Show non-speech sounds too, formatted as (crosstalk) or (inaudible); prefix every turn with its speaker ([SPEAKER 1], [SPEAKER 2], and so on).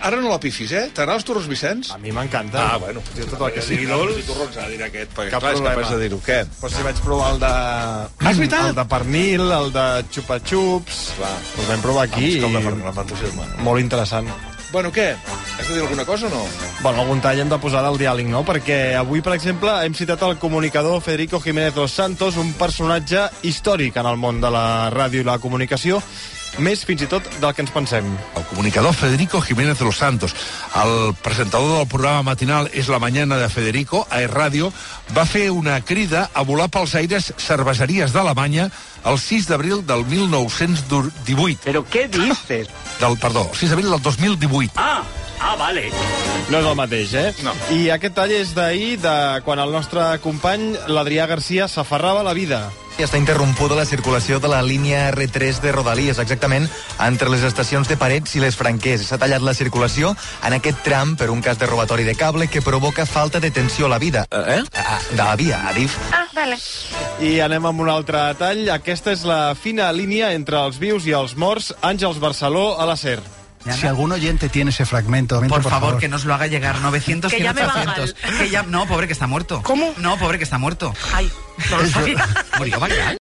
[SPEAKER 1] ara no la pifis, eh? T'agraden els torrons Vicenç?
[SPEAKER 2] A mi m'encanta.
[SPEAKER 1] Ah, bueno,
[SPEAKER 2] Jo tot el que sigui
[SPEAKER 1] I
[SPEAKER 2] dolç...
[SPEAKER 1] torrons ha de dir aquest, perquè
[SPEAKER 2] Cap
[SPEAKER 1] clar, és
[SPEAKER 2] problema.
[SPEAKER 1] capaç de dir-ho. Què?
[SPEAKER 2] Però si vaig provar el de...
[SPEAKER 1] Ah, és veritat!
[SPEAKER 2] El de pernil, el de Ah, xupa-xups...
[SPEAKER 1] Clar.
[SPEAKER 2] Els vam provar aquí
[SPEAKER 1] Vamos, com de
[SPEAKER 2] i...
[SPEAKER 1] fer- l'entusiasme.
[SPEAKER 2] Molt interessant.
[SPEAKER 1] Bueno, què? Has de dir alguna cosa o no?
[SPEAKER 2] Bueno, algun tall hem de posar al diàleg, no? Perquè avui, per exemple, hem citat el comunicador Federico Jiménez dos Santos, un personatge històric en el món de la ràdio i la comunicació, més fins i tot del que ens pensem.
[SPEAKER 3] El comunicador Federico Jiménez de los Santos, el presentador del programa matinal És la mañana de Federico, a Es Ràdio, va fer una crida a volar pels aires cerveseries d'Alemanya el 6 d'abril del 1918.
[SPEAKER 4] ¿Pero qué dices?
[SPEAKER 3] Del, perdó, el 6 d'abril del 2018.
[SPEAKER 4] Ah, ah, vale.
[SPEAKER 2] No és el mateix, eh?
[SPEAKER 1] No.
[SPEAKER 2] I aquest tall és d'ahir, de quan el nostre company, l'Adrià Garcia s'aferrava a la vida.
[SPEAKER 5] Està interrompuda la circulació de la línia R3 de Rodalies, exactament entre les estacions de Parets i les Franquers. S'ha tallat la circulació en aquest tram per un cas de robatori de cable que provoca falta de tensió a la vida. Eh? De la via, Adif.
[SPEAKER 6] Ah, vale.
[SPEAKER 2] I anem amb un altre tall. Aquesta és la fina línia entre els vius i els morts, Àngels Barceló a la SER.
[SPEAKER 7] Si algún oyente tiene ese fragmento,
[SPEAKER 8] Por favor, que nos lo haga llegar. (laughs) 900,
[SPEAKER 6] Que llame
[SPEAKER 8] 100, 800.
[SPEAKER 6] Bangal.
[SPEAKER 8] Que ya... No, pobre, que está muerto.
[SPEAKER 6] ¿Cómo?
[SPEAKER 8] No, pobre, que está muerto.
[SPEAKER 6] Ay, no lo sabía.
[SPEAKER 8] (laughs) Murió Bangal.